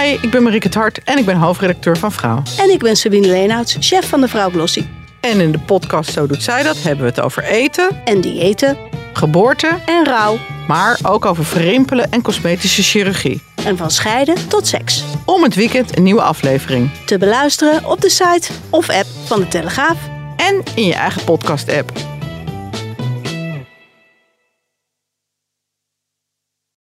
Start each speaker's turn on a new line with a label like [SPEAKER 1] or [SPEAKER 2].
[SPEAKER 1] Hi, ik ben Marieke het Hart en ik ben hoofdredacteur van Vrouw.
[SPEAKER 2] En ik ben Sabine Leenhouts, chef van de Vrouw Glossy.
[SPEAKER 1] En in de podcast Zo Doet Zij Dat hebben we het over eten,
[SPEAKER 2] En diëten
[SPEAKER 1] geboorte,
[SPEAKER 2] en rouw.
[SPEAKER 1] maar ook over verrimpelen en cosmetische chirurgie.
[SPEAKER 2] En van scheiden tot seks.
[SPEAKER 1] Om het weekend een nieuwe aflevering.
[SPEAKER 2] Te beluisteren op de site of app van de Telegraaf.
[SPEAKER 1] En in je eigen podcast-app.